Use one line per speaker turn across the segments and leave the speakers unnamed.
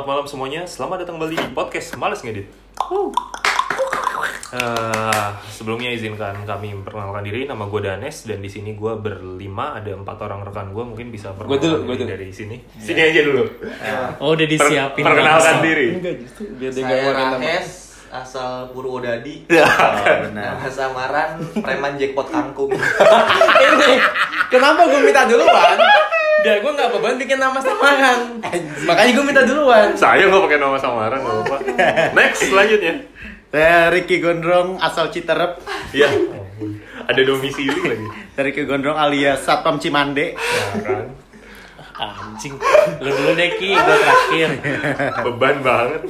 Selamat malam semuanya, selamat datang kembali di podcast Males Ngedit Eh, Sebelumnya izinkan kami memperkenalkan diri, nama gue Danes Dan di sini gue berlima, ada empat orang rekan gue Mungkin bisa
Gua
perkenalkan
dulu, gua
diri
dulu.
dari sini Sini aja dulu
Oh udah
Per-
disiapin
Perkenalkan
langsung.
diri
Enggak justru biar dia
Saya
ngeluarin nama.
Rahes, asal Purwodadi.
Nah.
Nama samaran preman jackpot kangkung.
Ini kenapa gue minta duluan? Biar gue nggak beban bikin nama samaran. Makanya gue minta duluan.
Saya nggak pakai nama samaran, nggak apa-apa Next, selanjutnya
Saya Ricky Gondrong asal Citerep,
Ya, ada domisili lagi
dari Ricky Gondrong alias Satpam Cimande.
Nah, kan.
Anjing. Lu dulu deh Ki, gua terakhir.
Beban banget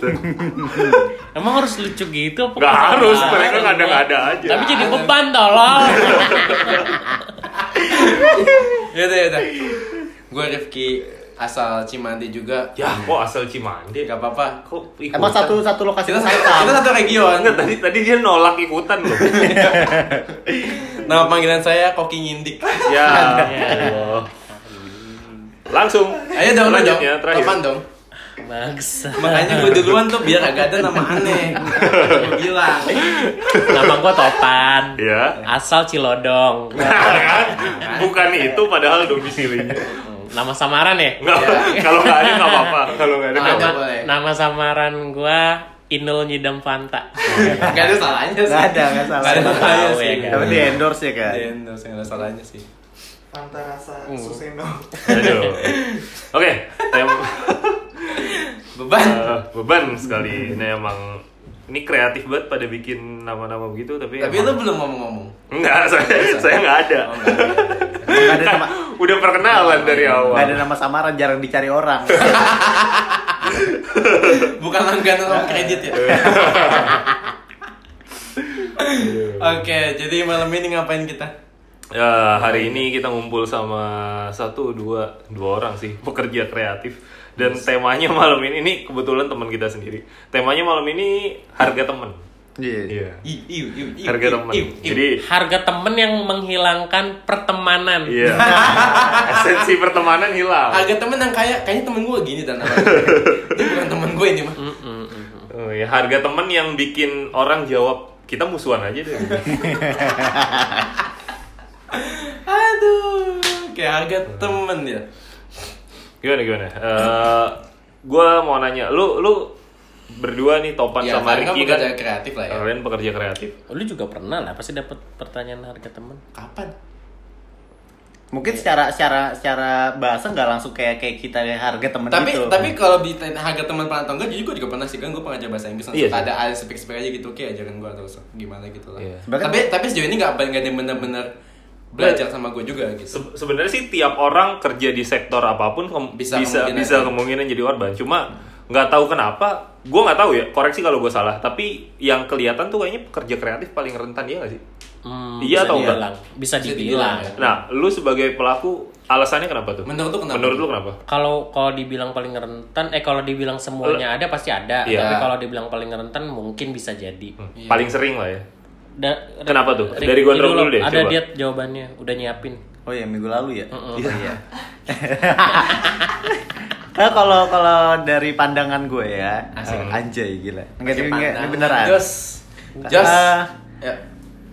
Emang harus lucu gitu apa?
Nggak harus,
Nah,
mereka
lu.
ngada-ngada aja
Tapi jadi beban tolong.
Yaudah yaudah. Gue Gitu, Rifki asal Cimandi juga.
Ya, kok asal Cimande?
Gak apa-apa.
Kok
Emang
ikutan?
satu satu lokasi
Kita
doang?
satu, kita satu region.
Enggak, tadi tadi dia nolak ikutan loh.
Nama panggilan saya Koki Ngindik.
ya Allah. Langsung.
Ayo dong, dong.
Selanjutnya, terakhir.
Kapan dong?
Bangsa.
Makanya gue duluan tuh biar agak ada nama aneh. Gue bilang.
Nama gua Topan.
Ya.
Asal Cilodong.
Kan? Bukan itu padahal domisilinya.
Nama samaran ya?
Enggak, kalau nggak ada nggak apa-apa. Kalau nggak ada
Ada.
nggak
Iya,
apa-apa.
boleh.
Nama samaran gua Inul Nyidam Fanta.
Gak ada salahnya sih.
Nggak ada, nggak salah.
Nggak ada Iya. salahnya
Tahu ya,
sih.
kan?
Tapi di endorse ya kan.
Dan nggak ada salahnya sih.
Fanta rasa suseno.
Aduh. Oke, tem-
Beban.
eh, beban sekali. Ini emang ini kreatif banget pada bikin nama-nama begitu
Iya.
tapi
Tapi lu
emang-
belum ngomong-ngomong.
enggak saya saya enggak ada.
Oh, nggak ada.
Nggak ada nama,
Udah perkenalan dari awal.
nggak ada nama samaran, jarang dicari orang.
Bukan langganan
Nah.
sama kredit ya.
Iya.
Oke, jadi malam ini ngapain kita?
Ya, hari ini kita ngumpul sama satu, dua, dua orang sih, pekerja kreatif. Dan temanya malam ini, ini kebetulan teman kita sendiri. Temanya malam ini harga temen.
Iya.
Iu, iu, iu, iu,
Harga
iu,
temen.
iu, iu.
Jadi,
Harga temen yang menghilangkan pertemanan.
iya. Esensi pertemanan hilang.
harga temen yang kayak kayaknya temen gue gini dan apa? Itu bukan temen gue ini mah.
Mm. Oh, ya, harga temen yang bikin orang jawab, kita musuhan aja deh.
Aduh, kayak harga temen ya.
Gimana, gimana? Eh, gua mau nanya, lu, lu berdua nih Topan
Ya,
sama
sama kan
Ricky
pekerja
kan,
kreatif lah ya.
kalian pekerja kreatif.
Lu juga pernah lah pasti dapat pertanyaan harga temen.
Kapan?
Mungkin secara secara secara bahasa nggak langsung kayak kayak kita kayak harga temen
tapi
gitu.
tapi kalau di harga teman pernah atau enggak, jadi gue juga pernah sih kan gue pengajar bahasa Inggris
Iya
iya,
sih.
ada ada speak speak aja gitu kayak ajarin gue atau se- gimana gitu lah.
Iya.
Sebenarnya-
Tapi tapi sejauh ini nggak nggak ada yang benar-benar belajar sama gue juga gitu.
Se- sebenarnya sih tiap orang kerja di sektor apapun kem- bisa bisa
Bisa
kemungkinan,
kemungkinan. ya.
jadi korban cuma nggak tahu kenapa gue nggak tahu ya koreksi kalau gue salah tapi yang kelihatan tuh kayaknya pekerja kreatif paling rentan dia nggak sih
Hmm,
Iya
bisa
atau enggak?
dibilang. Bisa
Bisa
dibilang. ya.
dibilang.
nah lu sebagai pelaku alasannya kenapa tuh
Menurut lu kenapa?
menurut lu kenapa
Kalau kalau dibilang paling rentan, eh kalau dibilang semuanya ada pasti ada.
Iya.
Tapi kalau dibilang paling rentan mungkin bisa jadi.
Hmm,
Iya.
paling sering lah ya
Da-
Kenapa tuh?
Rick,
Dari Gondrong
ini
dulu deh,
Ada
coba.
dia jawabannya, udah nyiapin.
Oh ya minggu lalu ya. Iya. iya. Nah, kalau kalau dari pandangan gue ya, anjay gila. Enggak
Pakai
tapi enggak, ini
pandangan.
beneran.
Jos. Jos.
Ah.
Ya.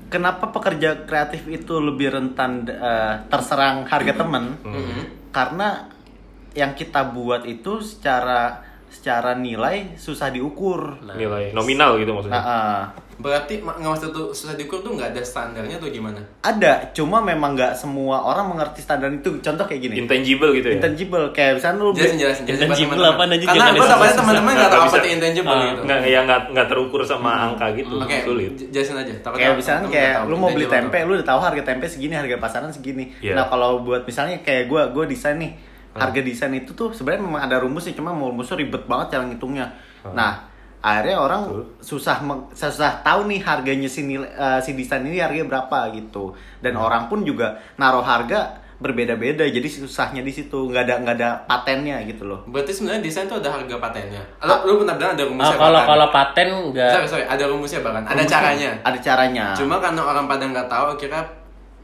Kenapa pekerja kreatif itu lebih rentan eh, terserang harga temen? Karena yang kita buat itu secara secara nilai susah diukur. Nah,
nilai nominal gitu
Nah,
maksudnya
eh,
Berarti ma- nggak maksud tuh susah diukur tuh nggak ada standarnya tuh gimana?
ada, cuma memang nggak semua orang mengerti standar itu. Contoh kayak gini.
Iya.
intangible gitu ya
Intangible kayak misalnya lu
Jelasin jelasin jelasin. buat
Intangible
teman-teman.
apaan aja,
Karena
jangan ada
gue takutnya
susah-susah.
teman-teman Nah, nggak tahu
Nggak
apa
bisa.
itu intangible gitu.
nggak ya nggak nggak terukur sama angka gitu
Oke,
sulit
j- jelasin aja. Takutnya
kayak misalnya
teman-teman
kayak
nggak tahu
lu mau beli
intangible
tempe lu udah tahu harga tempe segini harga pasaran segini
Iya.
nah kalau buat misalnya kayak gua gua desain nih harga desain itu tuh sebenarnya memang ada rumusnya cuma mau rumusnya ribet banget cara ngitungnya nah akhirnya orang susah meng- susah tahu nih harganya si nilai- eh, si desain ini harganya berapa gitu dan orang pun juga naruh harga berbeda-beda jadi susahnya di situ nggak ada nggak ada patennya gitu loh
Berarti sebenarnya desain tuh ada harga patennya. Lu, lu pernah bilang ada kan?
Oh,
rumusnya
kalau
bahkan.
kalau paten enggak
Iya.
Sorry, sorry, ada rumusnya bahkan. Ada kan? caranya.
Ah.
ada caranya
Cuma karena orang pada nggak tahu akhirnya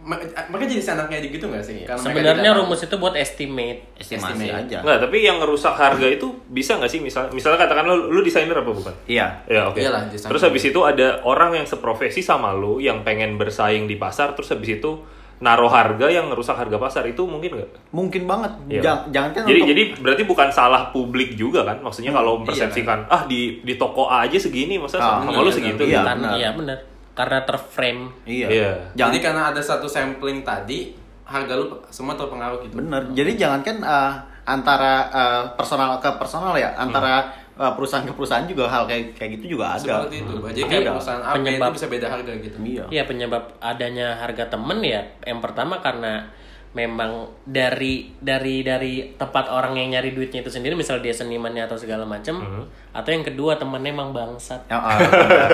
Ma- Makanya jadi seenaknya aja gitu nggak sih? Karena mereka
Sebenarnya
tidak tahu.
rumus itu buat estimate.
Estimasi
Estimate.
aja.
Nggak, tapi yang ngerusak harga itu bisa nggak sih? Misal, misalnya katakan lu, lu desainer apa bukan?
Iya.
Ya oke.
Iyalah, desainer.
Terus habis itu ada orang yang seprofesi sama lu yang pengen bersaing di pasar, terus habis itu naruh harga yang ngerusak harga pasar itu mungkin nggak?
Mungkin banget.
Iya.
Jangan jangan kan
Jadi
untuk- Hmm, iya,
jadi berarti bukan salah publik juga kan? Maksudnya kalau mempersepsikan ah di di toko A aja segini masa
kan. Ah,
sama lu
iya,
segitu gitu.
iya.
Karena
benar.
iya benar. Karena terframe.
Iya.
Iya.
Jangan
Jadi karena ada satu sampling tadi, harga lu semua terpengaruh gitu.
Bener. Jadi jangankan eh, antara eh, personal ke personal ya, antara eh, perusahaan ke perusahaan juga hal kayak kayak gitu juga ada.
Seperti itu. Jadi kayak
Ada.
perusahaan apa itu
Iya. Penyebab.
bisa beda harga gitu.
Iya.
Iya penyebab adanya harga temen ya yang pertama karena memang dari dari dari tempat orang yang nyari duitnya itu sendiri misal dia senimannya atau segala macam
Hmm.
atau yang kedua temennya emang bangsat
Ya, eh, bener.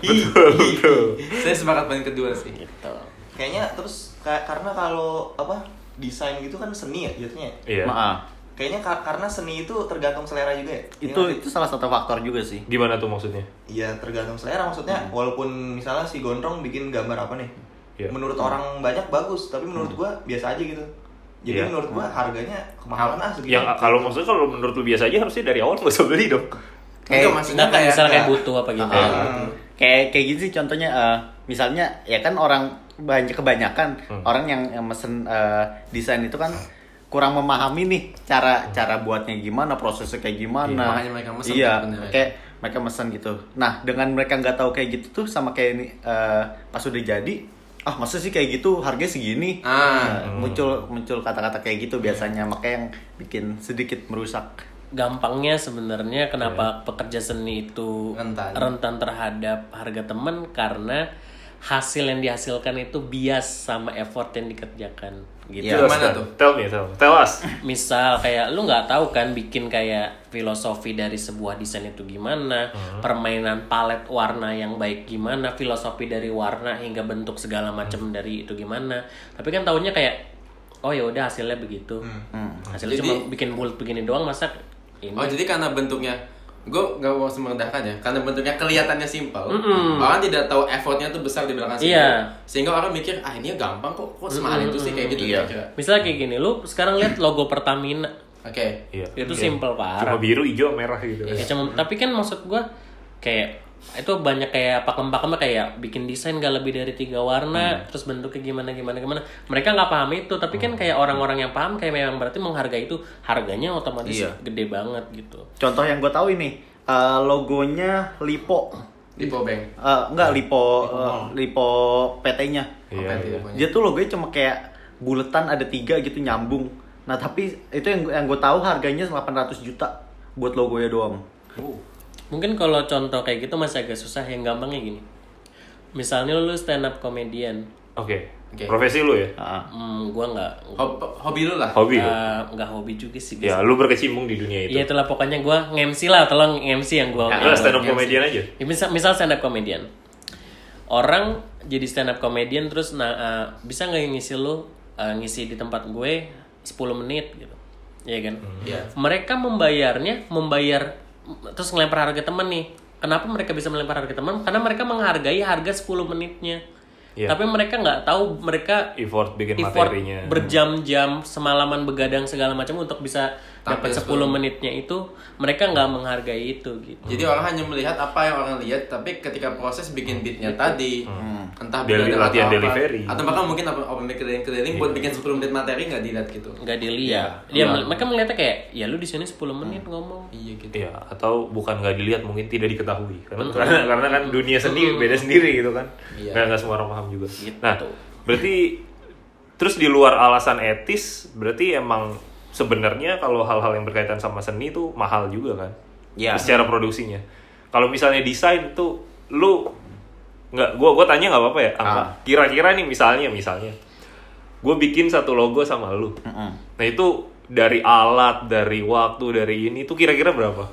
Gitu.
Saya sepakat dengan kedua sih.
gitu
Kayaknya terus ka- karena kalau apa desain gitu kan seni ya jatuhnya.
Iya.
ya?
Maaf.
Kayaknya ka- karena seni itu tergantung selera juga ya. Iya
Itu
nggak sih?
itu salah satu faktor juga sih.
Gimana tuh maksudnya?
Iya tergantung selera maksudnya walaupun misalnya si Gondrong bikin gambar apa nih
Hmm. Iya. Hmm.
menurut orang banyak bagus tapi menurut gua biasa aja gitu jadi
Iya.
menurut gua harganya kemahalan ah segini.
iya.
Yang kalau maksudnya kalau menurut lu biasa aja harusnya dari awal nggak usah beli dong. Iya.
Kayak-
Enggak, maksudnya
Sedangkan
kayak
misal kayak
enggak.
butuh apa gitu
Ah.
Hmm.
Kayak kayak gitu sih contohnya eh, misalnya ya kan orang banyak kebanyakan
Hmm.
orang yang, yang mesen eh, desain itu kan kurang memahami nih cara cara buatnya gimana prosesnya kayak gimana
Hmm. Iya, makanya mereka mesen
iya
kan bener.
kayak mereka mesen gitu nah dengan mereka nggak tahu kayak gitu tuh sama kayak ini eh, pas udah jadi ah masa sih kayak gitu harganya segini
Ah. Iya.
Nah, muncul muncul kata-kata kayak gitu biasanya makanya yang bikin sedikit merusak
gampangnya sebenarnya kenapa pekerja seni itu
Rentan.
terhadap harga temen karena hasil yang dihasilkan itu bias sama effort yang dikerjakan gitu
Iya.
Jelaskan.
Gimana tuh?
kan? Tell me, tell, tell us.
misal kayak lu nggak tahu kan bikin kayak filosofi dari sebuah desain itu gimana permainan palet warna yang baik gimana filosofi dari warna hingga bentuk segala macam dari itu gimana tapi kan tahunya kayak oh ya udah hasilnya begitu hasilnya
Jadi-
cuma bikin bulat begini doang masa ini
Oh jadi karena bentuknya gue gak mau semendahkan ya karena bentuknya kelihatannya simpel orang tidak tahu effortnya tuh besar di belakang sini
Iya.
sehingga orang mikir ah ini gampang kok kok semahal itu sih kayak gitu
Iya.
kira-kira.
misal kayak gini lu sekarang lihat logo Pertamina
oke
Iya.
itu
Iya.
simple
Cuma
parah
biru, hijau, merah gitu.
Iya.
Ya, cuma- tapi kan maksud gua kayak itu banyak kayak pakem-pakemnya kayak bikin desain gak lebih dari tiga
Hmm.
warna terus bentuknya gimana gimana gimana mereka nggak paham itu tapi kan kayak orang-orang yang paham kayak memang berarti menghargai itu harganya otomatis
Iya.
gede banget gitu
contoh yang gue tahu ini eh, logonya lipo
di pobank
Eh,
Iya.
enggak lipo eh, lipo PT-nya.
Iya.
Apa itu
iya.
pokoknya?
Dia tuh logonya cuma kayak buletan ada tiga gitu nyambung. Nah tapi itu yang yang gue tahu harganya 800 juta buat logonya doang.
mungkin kalau contoh kayak gitu masih agak susah yang gampangnya gini misalnya lu stand up comedian
Oke.
Oke.
Profesi lu ya?
Ah.
hmm, gua nggak
Hob- hobi lu lah
Hobi lu.
eh, nggak hobi juga sih
Ya, lu berkecimpung di dunia itu. Ya,
Iya itulah pokoknya gue ngemsi lah, tolong ngemsi yang gue.
Lu stand up comedian aja.
Ya, misal, misal stand up comedian. Orang jadi stand up comedian terus nah, eh, bisa nggak ngisi lu eh, ngisi di tempat gue 10 menit gitu. Iya kan?
Hmm.
Iya.
Mereka membayarnya membayar terus ngelempar harga temen nih. Kenapa mereka bisa melempar harga teman? Karena mereka menghargai harga 10 menitnya.
Iya.
Tapi mereka nggak tahu mereka
Effort bikin
effort
materinya.
berjam-jam semalaman begadang segala macam untuk bisa dapat
Tampil
10 menitnya itu mereka nggak menghargai itu gitu
jadi orang hanya melihat apa yang orang lihat tapi ketika proses bikin beatnya tadi entah
Deli-
begadang
Iya. Hmm. latihan
atau apa,
delivery. Iya.
atau bahkan mungkin apa apa keliling-keliling buat bikin 10 menit materi nggak dilihat gitu
nggak dilihat dia mel- mereka melihatnya kayak ya lu di sini 10 menit ngomong
iya gitu
Iya, atau bukan nggak dilihat mungkin tidak diketahui karena
Hmm.
karena, karena kan dunia seni beda sendiri gitu kan.
Iya.
Nggak nggak semua orang paham juga.
Gitu.
Nah, berarti terus di luar alasan etis, berarti emang sebenarnya kalau hal-hal yang berkaitan sama seni itu mahal juga kan?
Iya.
Secara produksinya. Kalau misalnya desain tuh lu nggak gua gua tanya nggak apa-apa ya. Angga?
Ah.
Kira-kira nih misalnya misalnya gue bikin satu logo sama lu.
Mm-mm.
Nah itu dari alat, dari waktu, dari ini itu kira-kira berapa?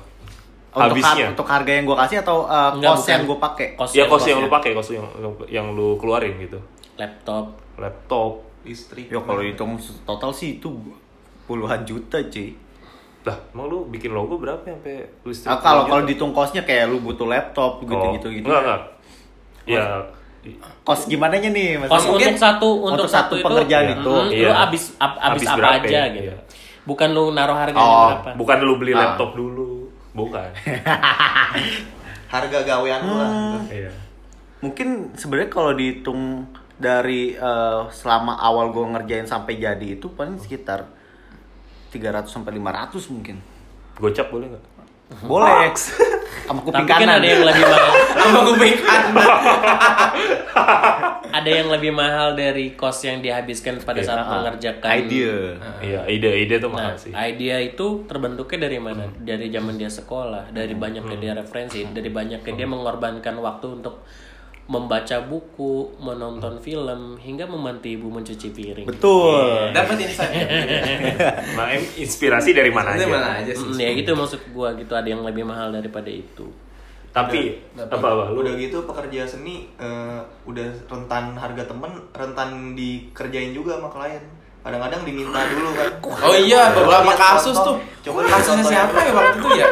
Untuk, har-
Habisnya.
untuk harga yang gue kasih atau uh,
Enggak,
cost
bukan.
yang gue pakai?
kos
ya kos yang lu pakai, kos yang yang lu keluarin gitu.
laptop
Laptop.
listrik
Ya kalau hitung total sih itu puluhan juta cuy.
Lah, emang lu bikin logo berapa sampai listrik?
Ah, kalau kalau
gitu?
dihitung costnya kayak lu butuh laptop
Oh,
gitu-gitu gitu.
Enggak, enggak. Ya,
kos gimana nya nih maksudnya?
Kos
Mungkin
untuk satu untuk,
untuk satu
itu,
pengerjaan itu.
mm,
Iya.
lu abis ab- abis,
Abis
apa
berapa
aja
ya?
gitu.
Iya.
Bukan lu naruh harganya
Oh,
berapa.
Bukan lu beli
Ah.
laptop dulu. Bukan.
harga gawean lu lah gitu.
Iya.
mungkin sebenarnya kalau dihitung dari eh, selama awal gue ngerjain sampai jadi itu paling sekitar 300 sampai 500 mungkin
Gocap boleh nggak?
boleh sama kuping
Tapi kan
kanan
ada yang lebih mahal.
Sama kuping kanan.
ada yang lebih mahal dari kos yang dihabiskan pada saat mengerjakan
idea
Iya, ide-ide tuh
Nah,
mahal sih.
idea itu terbentuknya dari mana? Dari zaman dia sekolah, dari banyaknya dia referensi, dari banyaknya dia mengorbankan waktu untuk membaca buku, menonton film, hingga membantu ibu mencuci piring.
Iya.
betul
Dapat insight.
Nah, em, inspirasi dari mana aja?
Itu mana aja sih?
Mm, ya gitu maksud gua gitu ada yang lebih mahal daripada itu.
Tapi apa apa lu Iya.
udah gitu pekerja seni eh, udah rentan harga temen rentan dikerjain juga sama klien kadang-kadang diminta dulu kan
Oh iya, beberapa
Lihat
kasus tuh.
contoh. coba lihat Iya.
kasusnya
contoh
siapa
yang-
ya waktu itu ya?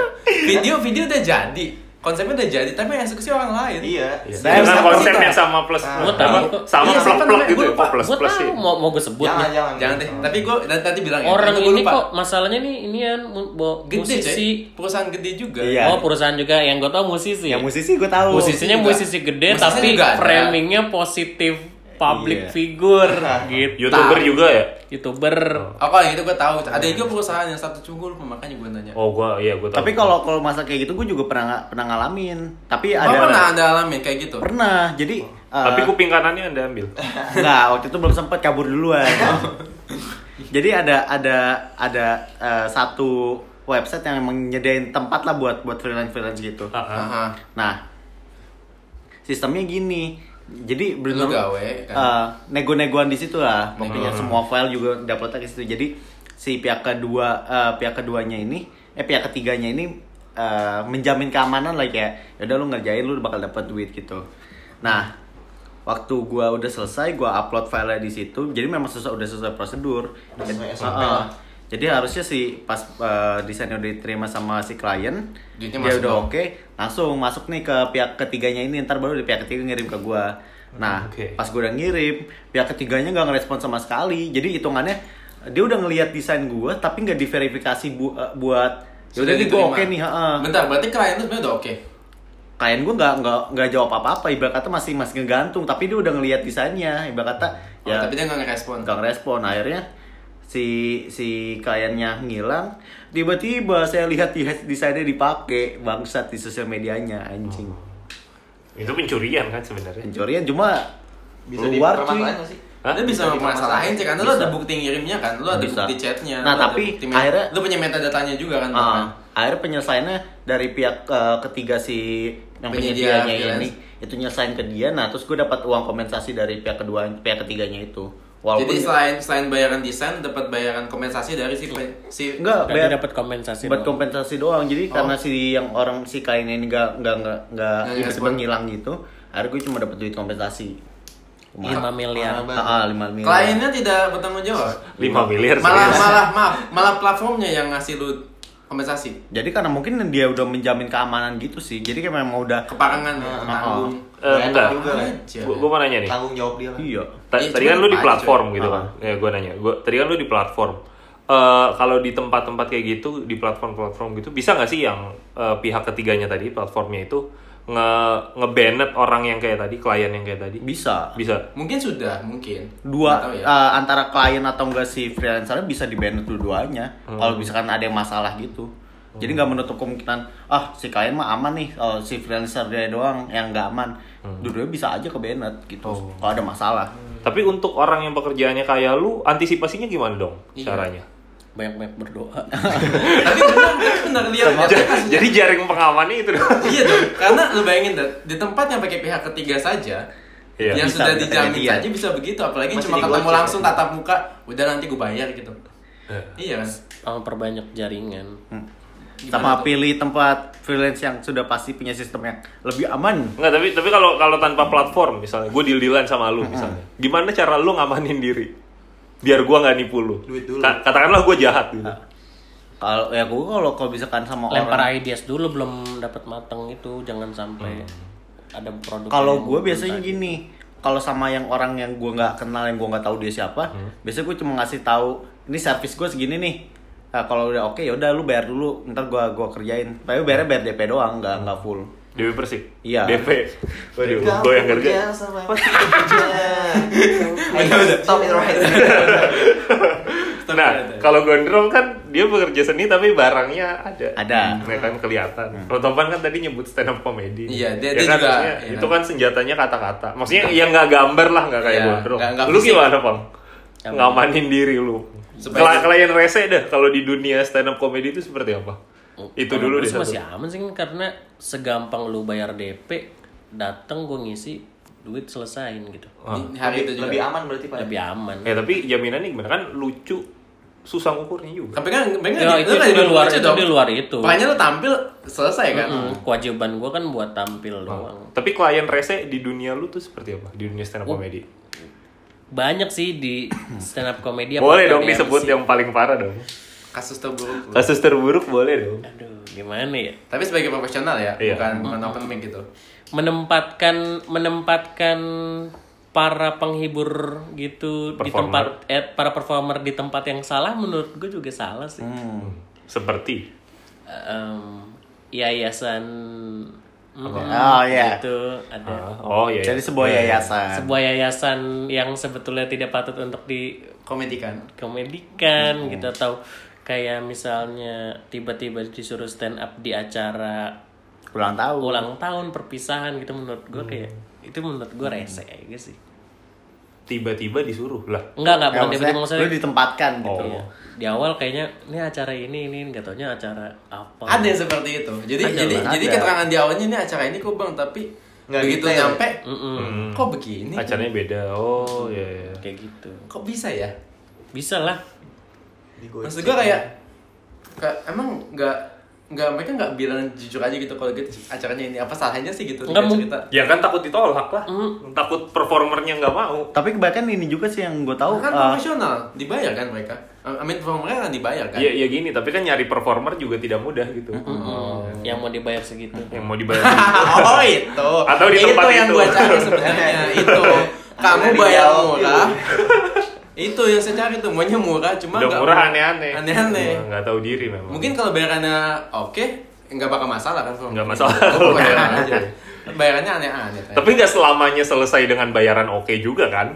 Video-video udah jadi, konsepnya udah jadi, tapi yang eksekusi orang lain.
iya
Iya.
Saya
dengan
harus
konsep
tahu.
yang sama plus
Ah.
apa?
Gua tahu kok.
sama
Iya,
plek
siapa
plek
namanya?
gitu
Gua
ya,
lupa.
plus
Gua
plus sih.
tahu mau mau gue sebut
jangan
nih.
jangan Oh.
Jangan deh, tapi gue nanti, nanti bilang ya.
Orang
nanti gua
ini
lupa.
kok masalahnya nih inian mu- bo-
gede sih,
musisi.
perusahaan gede juga.
Iya.
Oh perusahaan juga yang gue tau musisi.
yang musisi gue tahu
Musisinya
juga.
Iya. musisi gede
Musisinya
tapi
juga ada.
framingnya positif public
Iya.
figure gitu.
Youtuber juga ya?
Youtuber.
Oh kalau yang itu gue tahu. Ada juga perusahaan yang satu cunggul, makanya gue nanya.
Oh gua iya gua tahu.
tapi kalau kalau masa kayak gitu gue juga pernah pernah ngalamin tapi
Apa
ada
Oh, pernah anda alami kayak gitu?
pernah jadi eh,
tapi kuping kanannya Anda ambil.
Enggak, waktu itu belum sempat kabur duluan. Jadi ada ada ada eh, satu website yang menyediain tempat lah buat buat freelance freelance gitu.
Ah, ah.
Aha.
Nah, sistemnya gini. Jadi
Lu
bener
gawe kan?
eh, nego-negoan di situ lah. Pokoknya semua file juga dapatnya ke situ. Jadi si pihak kedua eh, pihak keduanya ini eh pihak ketiganya ini eh, menjamin keamanan lah kayak yaudah lu ngerjain lu bakal dapat duit gitu. Nah, waktu gua udah selesai gua upload file di situ. Jadi memang sesuai udah sesuai prosedur.
Udah sesuai
Jadi-
SOP
Heeh.
lah.
Jadi harusnya si pas eh, desainnya udah diterima sama si klien, dia
Duitnya masuk
udah
dong.
oke, langsung masuk nih ke pihak ketiganya ini, ntar baru di pihak ketiga ngirim ke gua. Nah,
Oke.
pas gue udah ngirim, pihak ketiganya nggak ngerespon sama sekali. Jadi hitungannya dia udah ngelihat desain gua tapi nggak diverifikasi bu- eh, buat ya udah nih gue
diterima.
oke nih, heeh.
Bentar, berarti klien itu sebenarnya udah oke.
Klien gua nggak nggak nggak jawab apa-apa, ibarat kata masih masih ngegantung, tapi dia udah ngelihat desainnya, ibarat kata
Oh,
ya
tapi dia nggak ngerespon.
nggak ngerespon akhirnya si si kliennya ngilang tiba-tiba saya lihat di desainnya dipakai bangsat di sosial medianya anjing
Itu pencurian kan sebenarnya.
pencurian cuma
bisa
keluar cuy
dipermasalahin nggak sih
Hah?
Lu bisa mempermasalahin sih karena lu ada bukti ngirimnya kan, lu ada
Bisa.
bukti chatnya.
Nah,
lu ada
tapi
bukti met-
akhirnya-
lu punya metadatanya juga kan.
Ah,
bahkan.
akhirnya penyelesaiannya dari pihak eh, ketiga si yang
Penyedia
penyedianya ini
freelance.
itu nyelesain ke dia nah terus gue dapat uang kompensasi dari pihak kedua pihak ketiganya itu walaupun
Jadi selain selain bayaran desain dapat bayaran kompensasi dari si pe- si
enggak
Berarti
bayar-
dapat kompensasi.
buat
doang.
kompensasi doang jadi karena si yang orang si kain ini nggak nggak nggak nggak
Nggak
tiba-tiba
respon.
ngilang gitu akhirnya gue cuma dapat duit kompensasi
Lima miliar.
Mahal banget.
ah lima miliar
kliennya tidak bertanggung jawab.
5 miliar
Malah
serius.
malah maaf, malah platformnya yang ngasih lu kompensasi.
jadi karena mungkin dia udah menjamin keamanan gitu sih jadi kayak memang udah
Keparangan
Ah,
ya, tanggung.
Eh,
Nggak enak
enggak.
juga kan.
Aja.
Gua, gua mau nanya nih.
tanggung jawab dia lah
iya
Ta-
Iya,
tadi
cuman Ah.
kan lu di
apa aja,
platform gitu
Apa?
kan. Ya gua nanya. Gua tadi kan lu di platform. Eh, kalau di tempat-tempat kayak gitu, di platform-platform gitu, bisa nggak sih yang eh, pihak ketiganya tadi, platformnya itu nge ngebanet orang yang kayak tadi, klien yang kayak tadi?
bisa
Bisa.
Mungkin sudah, mungkin. Nggak
dua
tahu ya.
eh, antara klien atau enggak si freelancer bisa di banned dua-duanya
Hmm.
kalau misalkan ada yang masalah gitu jadi nggak menutup kemungkinan ah si klien mah aman nih kalau si freelancer dia doang yang nggak aman
Hmm.
dua-duanya bisa aja ke banned gitu
Oh.
kalau ada masalah
Tapi untuk orang yang pekerjaannya kayak lu, antisipasinya gimana dong
Iya.
caranya?
Banyak-banyak berdoa.
tapi benar tapi benar lihat
Ja- Jadi jaring pengamannya itu dong.
iya dong karena lu bayangin Dad, di tempat yang pakai pihak ketiga saja
Iya.
yang
Bisa,
sudah
bisa
dijamin
kejadian.
saja bisa begitu apalagi
Masih
cuma
di
ketemu
Gojek.
langsung tatap muka udah nanti gue bayar gitu iya kan
Sama perbanyak jaringan.
sama pilih tempat freelance yang sudah pasti punya sistem yang lebih aman
Enggak, tapi tapi kalau kalau tanpa platform misalnya, gue deal-dealan sama lu misalnya. Gimana cara lu ngamanin diri? Biar gua nggak nipu lu.
Duit dulu.
Ka- katakanlah gue jahat gitu.
kalau ya gue kalau kalau misalkan sama
Lempar
orang
ideas dulu belum dapat mateng itu jangan sampai ada produk.
Hmm.
kalau
yang
gue
belum
biasanya
tadi.
gini kalau sama yang orang yang gua nggak kenal yang gua nggak tahu dia siapa biasanya gue cuma ngasih tahu ini servis gue segini nih Nah, kalau udah oke ya udah lu bayar dulu ntar gua gua kerjain tapi bayarnya bayar DP doang nggak nggak full
DP Persik.
Iya.
DP. Waduh, gue yang Nah, kerja.
Iya.
Iya,
Stop it right.
Nah, kalau gondrong kan dia bekerja seni tapi barangnya ada.
Ada.
Ya kan kelihatan. Kalau Topan kan tadi nyebut stand up comedy.
Hmm. Iya, dia-
Ya
dia
kan,
juga,
maksudnya
iya.
Itu kan senjatanya kata-kata. Maksudnya yang nggak gambar lah nggak kayak
Iya,
gondrong.
nggak- nggak
lu
fisik.
gimana, Pang? Ngamanin diri lu. Kela-
Supaya-
Kalian rese dah kalau di dunia stand up comedy itu seperti apa?
Oh,
Itu dulu
Terus
deh.
masih
satu.
aman Mm, sih karena segampang lu bayar DP, dateng gue ngisi duit selesain gitu.
Oh,
Di hari itu juga.
Lebih aman berarti Pak.
Lebih aman.
Ya tapi jaminannya gimana kan lucu susah ngukurnya juga.
Tapi kan, tapi kan
Ya,
di-
itu-
lu kan
itu
jadi
di luar-
lucu
itu di luar itu.
Makanya lu tampil selesai kan.
Hmm, kewajiban gue kan buat tampil
Hmm.
doang.
Tapi klien rese di dunia lu tuh seperti apa? Di dunia stand up comedy.
Banyak sih di stand up komedi.
Boleh
apalagi
dong
di
disebut
MC.
yang paling parah dong.
Kasus terburuk. lu.
Kasus terburuk boleh dong.
Aduh, gimana ya?
Tapi sebagai profesional ya,
Iya.
bukan bukan open mic gitu.
menempatkan menempatkan para penghibur gitu di tempat
Performer.
eh, para performer di tempat yang salah menurut gue juga salah sih.
Hmm. Seperti
Em, yayasan mm,
Oh, iya.
itu ada
oh kan. iya.
jadi sebuah yayasan
sebuah yayasan yang sebetulnya tidak patut untuk
Komedi
Hmm.
kan.
dikomedikan gitu atau kayak misalnya tiba-tiba disuruh stand up di acara
ulang tahun
ulang tahun perpisahan gitu menurut gue
Hmm.
kayak itu menurut gue rese aja sih.
tiba-tiba disuruh lah.
Enggak, enggak,
Ya,
bukan
maksudnya,
tiba-tiba maksudnya.
lu ditempatkan gitu
Iya. Di awal kayaknya ini acara ini ini enggak taunya acara apa.
Ada yang seperti itu. Jadi
Ada
jadi
lah,
jadi
ada.
keterangan di awalnya ini acara ini kubang tapi
Nggak
begitu
detail.
nyampe
Mm.
Hmm.
kok begini?
Acaranya beda. Oh iya. iya.
kayak gitu.
Kok bisa ya?
Bisa lah.
Maksud gue kayak kayak emang nggak nggak mereka nggak bilang jujur aja gitu kalau gitu acaranya ini apa salahnya sih gitu
Nggak
dia
mung-
cerita.
Ya kan takut ditolak lah. Takut performernya nggak mau.
tapi kebanyakan ini juga sih yang gue tahu
kan
eh,
Ah.
profesional, dibayar kan mereka. I mean, mereka kan dibayar kan.
Ya ya gini, tapi kan nyari performer juga tidak mudah gitu.
Mm-mm. Yang mau dibayar segitu.
Yang mau dibayar.
oh itu.
Atau di tempat
yang
itu.
gua cari sebenarnya itu. Kamu
Ada di
bayar
dialog
murah. itu yang saya cari tuh, maunya murah cuma
Udah
nggak-
murah aneh-aneh.
Aneh-aneh.
Nah, Nggak tahu diri memang.
Mungkin kalau bayarannya oke, nggak bakal masalah kan? Fong?
Nggak masalah.
Kalau bayaran aja. Bayarannya aneh-aneh.
Tapi nggak selamanya selesai dengan bayaran oke juga kan?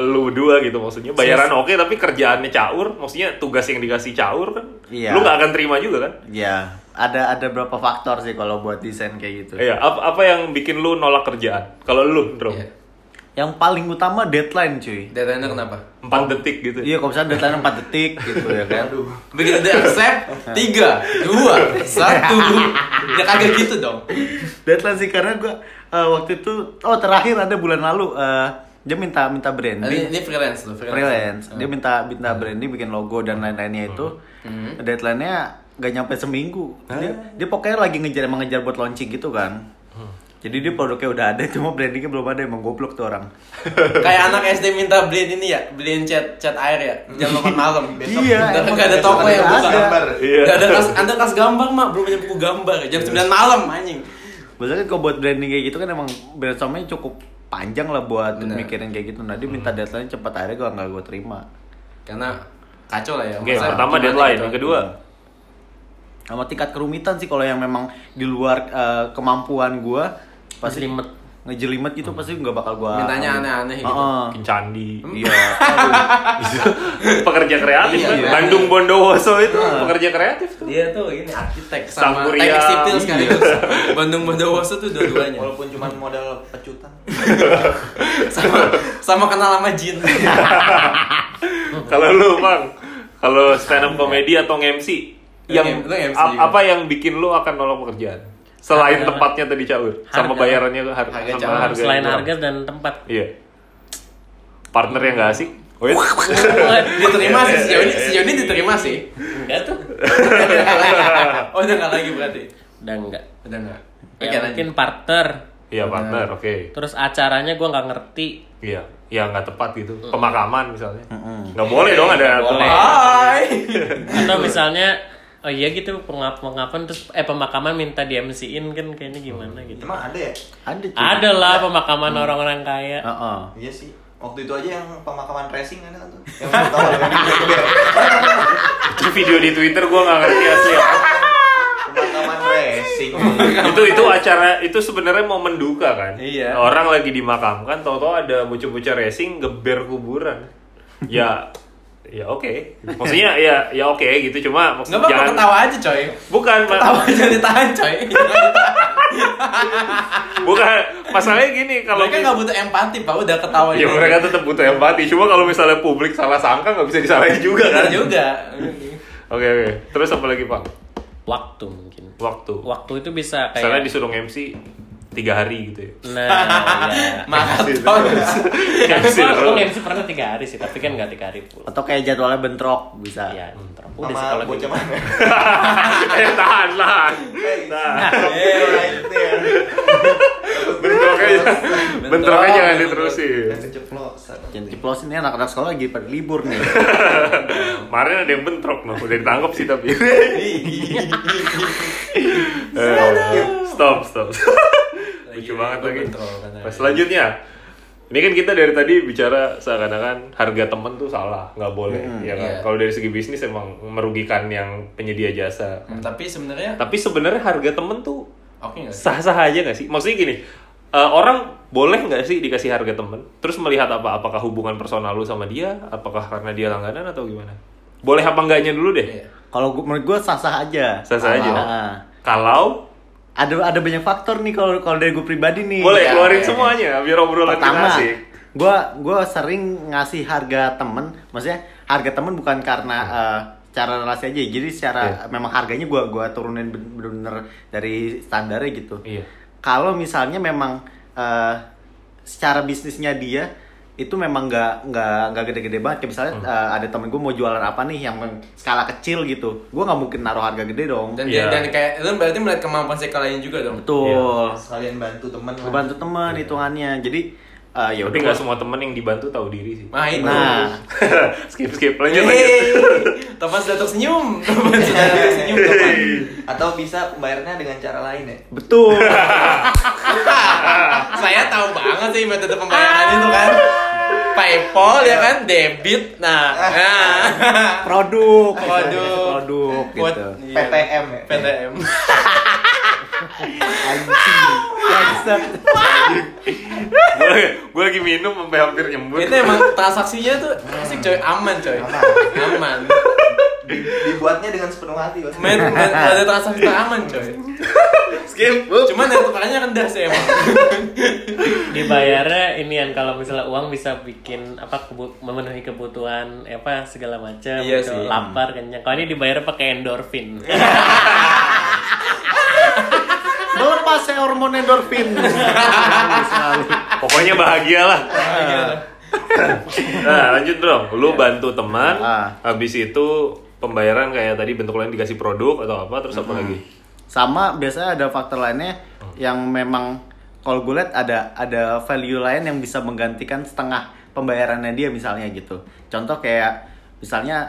Lu dua gitu maksudnya bayaran oke tapi kerjaannya caur, maksudnya tugas yang dikasih caur kan?
Iya.
Lu nggak akan terima juga kan?
ya ada ada berapa faktor sih kalau buat desain kayak gitu
Iya. Apa, apa yang bikin lu nolak kerjaan? Kalau lu, bro,
Iya.
yang paling utama deadline cuy
Deadline-nya kenapa?
empat detik gitu.
iya kalau misalnya deadline 4 detik gitu ya kan
Begitu dia accept, tiga, dua, satu. Ya kagak gitu dong.
deadline sih karena gue waktu itu oh terakhir ada bulan lalu eh, dia minta minta branding
Ini, ini freelance loh,
freelance. Dia minta minta branding bikin logo dan lain-lainnya itu. Deadline-nya gak nyampe seminggu. Dia, dia pokoknya lagi ngejar emang ngejar buat launching gitu kan. Jadi dia produknya udah ada cuma brandingnya belum ada emang goblok tuh orang.
Kayak anak SD minta beliin ini ya, beliin cat cat air ya, jam 8 malam. Besok
Iya,
Nggak-
emang
nggak ada
besok
toko
ada
yang buka.
ada.
gambar.
Iya.
Nggak ada kas, ada kas gambar mak, belum punya buku gambar. Jam 9 malam anjing.
Maksudnya kalau buat branding kayak gitu kan emang brainstormnya cukup panjang lah buat
Bener.
mikirin kayak gitu. Nah dia minta deadline cepat akhirnya gue nggak gue terima.
Karena kacau lah ya.
Oke, yang
masa
pertama
gimana
deadline,
gitu.
yang kedua
Sama tingkat kerumitan sih kalau yang memang di luar eh, kemampuan gue pasti
Jelimet.
ngejelimet gitu pasti nggak bakal gue
Mintanya aneh-aneh gitu.
bikin candi.
Iya.
pekerja kreatif
Iya,
kan?
iya.
Bandung Bondowoso itu pekerja kreatif tuh.
Dia tuh ini arsitek sama
Sangkuriang.
teknik sipil
Iya.
sekaligus. Bandung Bondowoso tuh dua-duanya.
Walaupun cuma modal pecutan.
sama sama kenal sama jin.
Kalau lu, Bang, kalau stand up comedy atau MC
Lu
yang
lu MC
ap-
juga.
apa yang bikin lu akan nolak pekerjaan? Selain tempatnya tadi caur, sama
Harga.
bayarannya har-
Harga
sama
caur.
harga yang
Hmm, Selain
kurang.
harga dan tempat.
Iya. Partner yang gak asik. Wait.
diterima sih sejauh ini sejauh ini diterima sih.
Enggak tuh.
oh udah nggak lagi berarti.
Udah enggak.
Udah nggak.
Ya,
Oke lanjut.
mungkin partner.
Iya, partner. Oke.
Terus acaranya gue nggak ngerti.
Iya. Ya nggak tepat gitu. Pemakaman misalnya. Nggak boleh dong ada
Iya, Nggak boleh.
pemakaman.
Hai.
Atau misalnya Oh iya gitu pengap pengapan terus eh pemakaman minta di MC-in kan kayaknya gimana gitu.
Emang ada ya?
Ada cuy.
Ada lah pemakaman orang-orang kaya.
Heeh.
Iya sih. Waktu itu aja yang pemakaman racing ada kan tuh. Yang pertama yang di Blackbear.
Itu video di Twitter gua nggak ngerti asli apa.
Pemakaman racing.
gitu.
itu itu acara itu sebenarnya mau menduka kan
Iya.
orang lagi dimakamkan tau-tau ada bocah-bocah racing geber kuburan ya ya oke maksudnya ya ya oke gitu cuma
Nggak
maksudnya
apa-apa
jangan
ketawa aja coy.
bukan Ma-
Ketawa aja ditahan coy.
bukan masalahnya gini kalau
Mereka nggak butuh empati pak, udah ketawa
ya
aja.
mereka tetap butuh empati cuma kalau misalnya publik salah sangka nggak bisa disalahin juga kan
Bener juga.
oke oke terus apa lagi pak
Waktu mungkin.
waktu
Waktu itu
ya.
bisa
misalnya
kayak
disuruh MC tiga hari gitu ya
Nah,
iya.
ya.
Maraton.
MC
Tapi gua-
terus.
gua MC pernah tiga hari sih, tapi kan nggak tiga hari pulang.
Atau kayak jadwalnya bentrok bisa.
Ya, bentrok. udah sih
Sama
kalau
bocah
gitu.
mana?
eh tahan tahan
Nah,
tahan
iya,
bentroknya bentroknya jangan diterusin
Dan keceplosan.
Jangan ceplosin ini anak-anak sekolah lagi pada libur nih.
kemarin ada yang bentrok loh udah ditangkap sih tapi Eh, stop stop lucu banget lagi
bentrok, kan, ya. katanya.
Nah, selanjutnya ini kan kita dari tadi bicara seakan-akan harga temen tuh salah nggak boleh ya kan
iya.
kalau dari segi bisnis emang merugikan yang penyedia jasa
Hmm, Tapi sebenarnya
tapi sebenarnya harga temen tuh
oke nggak sih?
sah-sah aja nggak sih? Maksudnya gini, eh, orang boleh nggak sih dikasih harga temen? Terus melihat apa? Apakah hubungan personal lu sama dia? Apakah karena dia langganan atau gimana? Boleh apa enggaknya dulu deh.
Iya.
Kalau gua- menurut gua sah-sah aja.
Sah-sah aja.
Heeh.
Kalau
Ada ada banyak faktor nih kalau kalau dari gue pribadi nih.
boleh
Ya.
keluarin semuanya biar obrolan kita
pertama
asik.
gue gua sering ngasih harga temen maksudnya harga temen bukan karena
Hmm.
eh, cara relasi aja jadi secara
Iya.
memang harganya gue gua turunin ben- bener-bener dari standarnya gitu
Iya.
kalau misalnya memang eh, secara bisnisnya dia itu memang nggak nggak nggak gede-gede banget kayak
Hmm.
misalnya eh, ada temen gue mau jualan apa nih yang skala kecil gitu gue nggak mungkin naruh harga gede dong
Dan
Iya.
dan kayak itu berarti melihat kemampuan si klien juga dong.
iya.
betul
Sekalian bantu teman
Gua
lah.
bantu temen hitungannya jadi eh, ya
Tapi
udah
nggak semua temen yang dibantu tahu diri sih.
Nah itu.
nah
skip skip lanjut
Iya.
lanjut.
Hey, Topan sudah tersenyum. Topan sudah tersenyum. Topan.
Iya, Atau bisa pembayarnya dengan cara lain ya.
betul
Saya tahu banget sih metode pembayaran itu kan. PayPal ya kan, debit. Nah, nah.
produk
Produk.
produk gitu
Buat- iya.
PTM ya.
PTM.
anjing Bangsat.
Gue lagi minum sampai hampir nyembur.
Itu emang transaksinya tuh asik coy, aman coy. Aman.
Dibuatnya dengan sepenuh hati. Bos.
Men, men- ada transaksi tuh aman coy.
skip.
Cuman yang tukarnya rendah sih emang.
Dibayarnya ini kan kalau misalnya uang bisa bikin apa kebu- memenuhi kebutuhan apa segala macam
Iya
gitu.
sih.
lapar kenyang. Kalau ini dibayar pakai endorfin.
melepas saya hormon endorfin
Pokoknya bahagialah. nah, lanjut dong.
Iya.
Lu bantu teman,
Ah.
habis itu pembayaran kayak tadi bentuk lain dikasih produk atau apa, terus
Hmm.
apa lagi?
sama biasanya ada faktor lainnya yang memang kalau gue lihat ada ada value lain yang bisa menggantikan setengah pembayarannya dia misalnya gitu contoh kayak misalnya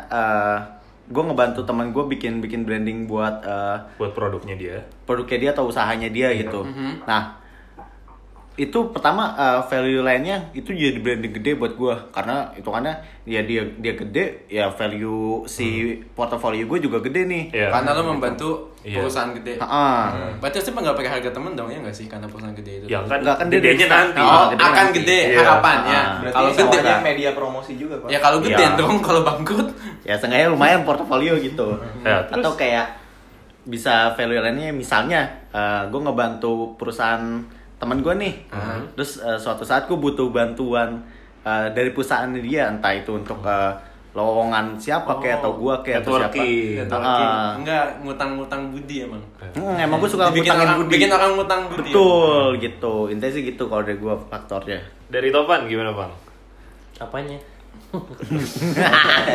gue ngebantu teman gue bikin bikin branding buat eh,
Buat produknya dia.
produknya dia atau usahanya dia gitu. Nah, itu pertama eh, value lainnya itu jadi branding gede buat gua karena hitungannya ya dia dia gede ya value si portofolio gue juga gede nih.
Iya.
Karena lo membantu
Iya.
perusahaan gede.
Heeh.
Berarti pasti nggak pakai harga temen dong ya nggak sih karena perusahaan gede itu.
Ya kan,
Nggak, kan dia
gedenya
dari-
nanti.
Oh,
Oh, akan
nanti.
gede
Iya.
harapannya.
Ah.
Berarti
Kalau gede
awalnya
ya.
media promosi juga, Pak.
Ya kalau gede
Iya.
dong kalau bangkrut.
Ya seenggaknya lumayan portofolio gitu.
Ya, terus?
Atau kayak bisa value lainnya misalnya gue ngebantu perusahaan teman gue nih. Terus eh, suatu saat gue butuh bantuan eh, dari perusahaan dia entah itu untuk eh, lowongan siapa kayak atau gue kayak atau siapa.
networking.
Ah.
Enggak ngutang-ngutang budi emang.
Hmm, emang gue suka
bikin
ngutangin
orang,
budi.
bikin orang ya? ngutang budi.
Betul gitu. Intinya sih gitu kalau dari gue faktornya.
Dari Topan gimana, Bang?
Apanya?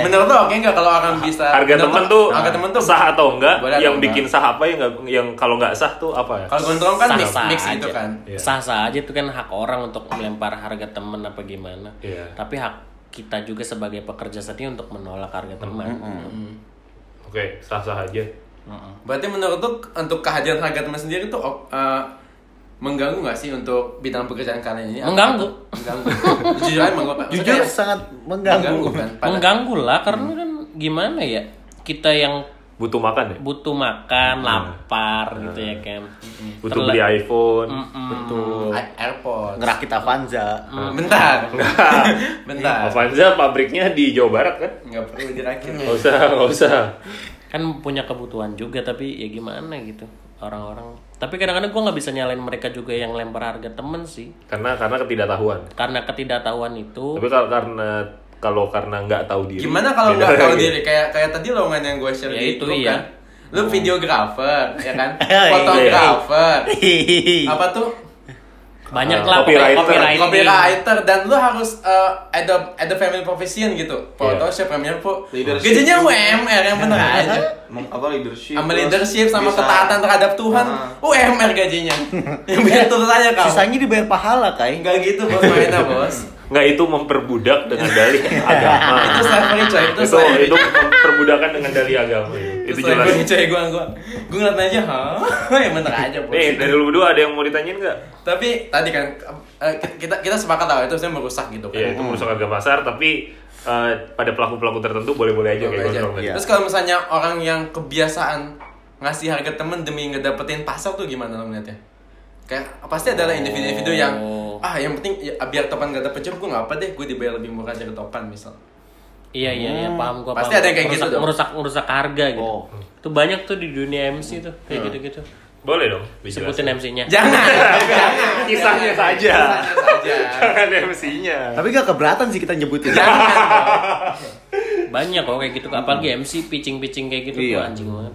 Menurut lo oke nggak kalau orang bisa
Harga
menurut
temen
lo-
tuh,
Eh, harga temen tuh
sah atau enggak?
Boleh atau
yang
enggak?
bikin sah apa yang nggak- yang kalau nggak sah tuh apa ya?
Kalau gondrong kan mix
Sah-sah
mix
aja.
gitu kan.
Iya.
Sah-sah aja itu kan hak orang untuk melempar harga temen apa gimana.
Iya.
Tapi hak kita juga sebagai pekerja sendiri untuk menolak harga teman.
Oke, sah-sah aja.
Berarti menurut tuh untuk kehadiran harga teman sendiri tuh op- eh, mengganggu nggak sih untuk bidang pekerjaan kalian ini?
Mengganggu.
Mengganggu. Jujur aja mengganggu. Pak.
Jujur
Maksudnya
sangat
mengganggu
mengganggu.
kan. Pada-
Mengganggu lah karena kan gimana ya? Kita yang
Butuh makan ya?
butuh makan, lapar gitu ya kan.
Butuh beli iPhone.
Betul. Airport.
Ngerakit Avanza.
Mm. Bentar. Bentar.
Avanza pabriknya di Jawa Barat kan?
Nggak perlu dirakit.
Nggak usah, nggak usah.
Kan punya kebutuhan juga tapi ya gimana gitu orang-orang. Tapi kadang-kadang gua nggak bisa nyalain mereka juga yang lempar harga temen sih.
Karena karena ketidaktahuan.
Karena ketidaktahuan itu
Tapi kalau karena kalau karena nggak tahu diri.
Oh. Gimana kalau
beda
nggak tahu
lagi.
diri kayak kayak tadi lowongan yang gue share
Ya,
di
itu
grup
iya.
kan? Lu videographer, ya kan?
iya.
Fotografer.
Hihihi.
Apa tuh?
Ah,
banyak lah
copywriter.
copywriting.
Copywriter dan lu harus eh, ada ada family profession gitu. Photoshop, Premiere Pro.
Leadership.
Gajinya UMR yang bener aja.
Mem- apa leadership
Sama
terus
leadership sama
bisa-
ketaatan terhadap Tuhan,
Ah.
UMR gajinya. Yang betul aja kau.
Sisanya dibayar pahala kai.
Enggak gitu bos mainnya bos.
Nggak itu memperbudak dengan dalih agama.
Itu slavery coy, itu
itu
slavery.
itu memperbudakan dengan dalih agama. Itu jelas.
Gue coy gue gue gue ngeliat aja, hah, yang bener aja bos.
Nih dari lu berdua ada yang mau ditanyain nggak?
Tapi tadi kan eh, kita kita sepakat lah itu sebenarnya merusak gitu kan.
Iya.
Ya itu merusak harga pasar, tapi eh, pada pelaku-pelaku tertentu boleh-boleh aja
Gitu
Iya, kayak
aja.
gondrong
iya.
tadi.
Terus kalau misalnya orang yang kebiasaan ngasih harga temen demi ngedapetin pasar tuh gimana lo melihatnya? Kayak pasti ada
Oh.
lah individu-individu yang ah yang penting ya, biar topan gak dapet job gue gak apa deh gue dibayar lebih murah dari topan misal.
Iya iya iya paham gua.
Pasti
paham.
ada yang kayak gitu
merusak,
dong.
merusak merusak harga gitu.
Oh.
Itu banyak tuh di dunia MC tuh kayak gitu-gitu.
Boleh dong.
Sebutin MC-nya.
Jangan.
Jangan, kisahnya saja.
saja.
Jangan ya, MC-nya.
Tapi gak keberatan sih kita nyebutin.
Iya.
banyak kok kayak gitu apalagi MC pitching-pitching kayak gitu tuh
Iya.
anjing banget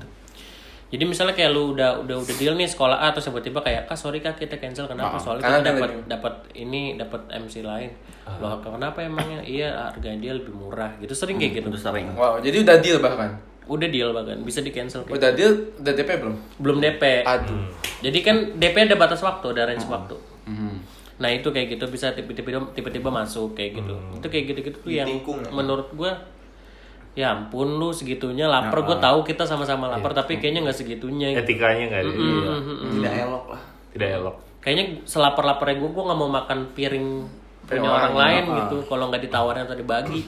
jadi misalnya kayak lu udah udah udah deal nih sekolah A terus tiba-tiba kayak kak sorry kak kita cancel
Ah,
kenapa soalnya
karena
kita
ada
dapat
lagi. Ah.
dapat ini dapat MC lain loh kenapa emangnya iya harganya dia lebih murah gitu sering
Hmm,
kayak gitu
Udah sering.
Wow, jadi udah deal bahkan.
udah deal bahkan bisa di cancel kayak gitu.
Udah Ah, deal, udah DP belum?
belum DP
Aduh.
jadi kan DP ada batas waktu ada range waktu nah itu kayak gitu bisa tiba-tiba tiba-tiba masuk kayak gitu itu kayak gitu-gitu tuh yang
Ditikung ya.
menurut gua ya ampun lu segitunya lapar gua tahu kita sama-sama lapar tapi kayaknya nggak segitunya gitu.
Etikanya nggak
Mm-hmm.
ada. Iya.
tidak elok lah
Tidak elok.
kayaknya selapar laparnya gua gua nggak mau makan piring punya orang, lain gitu kalau nggak ditawarin atau dibagi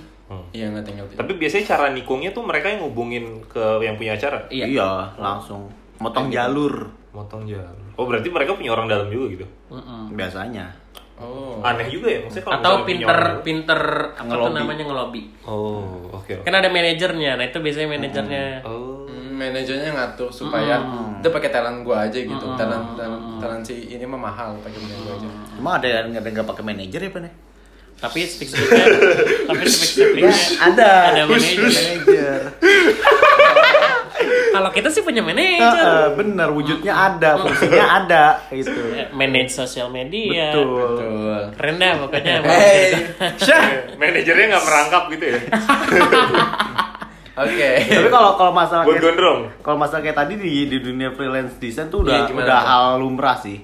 Iya nggak tinggal.
Tapi biasanya cara nikungnya tuh mereka yang ngubungin ke yang punya acara.
Iya.
Iya, langsung motong
Iya.
jalur
Motong jalan. Oh berarti mereka punya orang dalam juga gitu.
Mm-mm.
Hmm.
biasanya.
Oh.
Aneh juga ya maksudnya kalau
atau
misalnya punya
pinter
orang dalam.
pinter apa tuh namanya ngelobi
Oh oke.
kan ada manajernya nah itu biasanya manajernya
Oh.
Hmm, manajernya ngatur supaya udah pakai talent gua aja gitu. Talent, talent talent si ini mah mahal pakai talent gua aja.
Emang ada yang ada nggak pakai manajer ya Pak?
tapi speak speaknya tapi speak
Iya,
speaknya
Ada.
Ada manajer.
manajer.
kalau kita sih punya manajer
Heeh, Bener, wujudnya
Hmm.
ada, fungsinya ada, gitu.
Eh,
Iya.
manage sosial media
Betul. Eh.
Betul.
keren dah pokoknya
Hey. Syah.
Manajernya nggak merangkap gitu ya.
Oke.
Tapi kalau kalau masalah
Buat
kayak,
gondrong.
kalau masalah kayak tadi di di dunia freelance desain tuh udah
Iya, gimana
udah
tuh?
hal lumrah sih.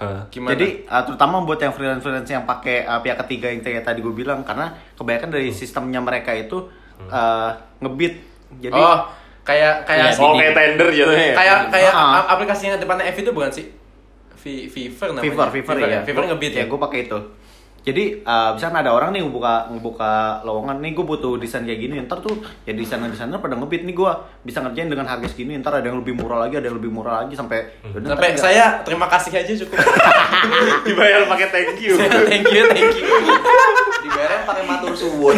Hah.
Gimana?
Jadi uh, terutama buat yang freelance freelance yang pakai uh, pihak ketiga yang kayak tadi gue bilang karena kebanyakan dari
Hmm.
sistemnya mereka itu uh, ngebit. Jadi
oh, kayak kayak
Oh kayak tender jatuhnya. ya?
kayak kayak
Ah.
a- aplikasi yang depannya F itu bukan sih? V Fever namanya.
Fever, Fever ya.
Fever ngebeat ya.
gue pakai itu. Jadi uh, misalnya ada orang nih ngebuka ngebuka lowongan nih gue butuh desain kayak gini ntar tuh ya desainer desainer pada ngebit nih gue bisa ngerjain dengan harga segini ntar ada yang lebih murah lagi ada yang lebih murah lagi sampai yaudah, ntar
Sampai
ada-
saya terima kasih aja cukup.
dibayar pakai thank you.
thank you, thank you.
dibayarnya pakai matur suwun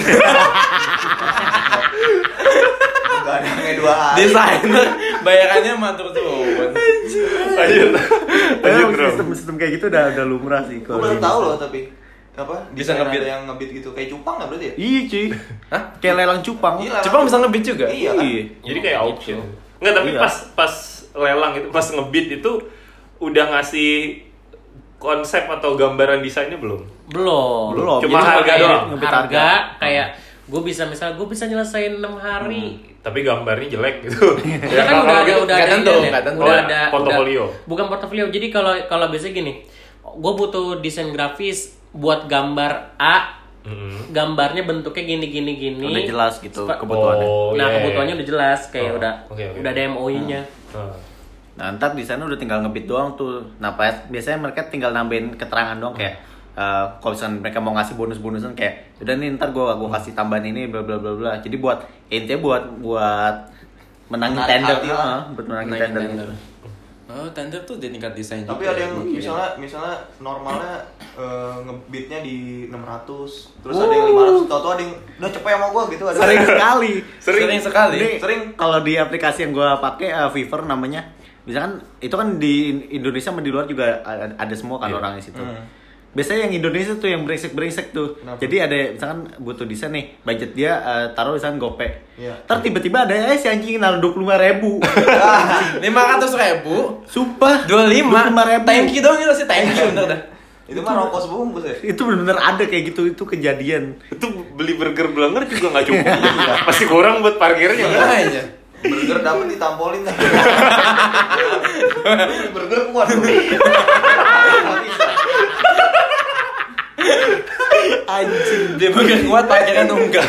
nggak ada yang dua hari
Desainer bayarannya mantur tuh.
Lanjut. Lanjut
Padahal
bro.
sistem sistem Eh, kayak gitu udah udah lumrah sih
gue
kalau
baru
di-
tahu loh tapi apa
Bisa
desain
ngebeat.
ada yang ngebit gitu kayak cupang nggak berarti ya
Iya cuy. Hah? Kayak lelang cupang.
Iya,
Jepang bisa ngebeat juga.
iya kan
Iya.
Jadi kayak auction. Enggak, tapi
Iya.
pas pas lelang itu pas ngebit itu udah ngasih konsep atau gambaran desainnya belum?
belum
Belum.
Cuma
Jadi
harga
kayak
doang.
ngebit
harga, kayak gue bisa misal gue bisa nyelesain 6 hari
Tapi gambarnya jelek gitu.
ya, kan
kalau
udah ada
gitu-
udah
nggak
ada
tentu,
ininya,
nggak tentu.
udah
Oh,
ada
portofolio.
udah- bukan portofolio jadi kalau kalau biasanya gini gue butuh desain grafis buat gambar A
Mm-mm.
gambarnya bentuknya gini gini gini
udah jelas gitu
Sepa-
kebutuhannya.
Oh, iya,
nah
iya,
kebutuhannya
iya.
udah jelas kayak
Oh,
udah
oke, oke.
udah ada MOU nya
Ah.
Nah, ntar di sana udah tinggal ngebit doang tuh. Nah, pas- biasanya mereka tinggal nambahin keterangan doang kayak eh, kalau misalnya mereka mau ngasih bonus-bonusan kayak udah nih ntar gua gua kasih tambahan ini bla bla bla bla. Jadi buat intinya buat buat menangin
Menarik
tender,
hati
heeh,
lah.
buat menangin
Naikin
tender. gitu.
tender. Oh, tender tuh di tingkat desain
Tapi
juga
ada
ya,
yang
mungkin.
misalnya misalnya normalnya eh, ngebitnya di 600, terus
Wuh.
ada yang 500, tau tau ada yang udah cepet sama gua gitu ada.
Sering sekali.
Sering. sekali.
Ini
Sering.
Kalau di aplikasi yang gua pakai eh, Fiverr namanya, misalkan itu kan di Indonesia sama di luar juga ada, ada semua
Iya.
kan orang di situ. Biasanya yang Indonesia tuh yang brengsek-brengsek tuh.
Hmm. Kenapa?
Jadi ada misalkan butuh desain nih, budget dia eh, taruh misalkan GoPay.
Iya.
Ntar tiba-tiba ada eh si anjing naruh 25 ribu.
Ah, lima ratus ribu
Sumpah.
dua lima
25.000.
thank you dong itu sih thank you bener dah
Itu mah rokok sebungkus ya.
Itu benar-benar ada kayak gitu itu kejadian.
Itu beli burger belanger juga nggak cukup. ya? Pasti kurang buat parkirnya.
Iya,
kan?
makanya
Burger dapet ditampolin dah. Burger kuat tuh.
anjing dia bukan kuat pakainya nunggak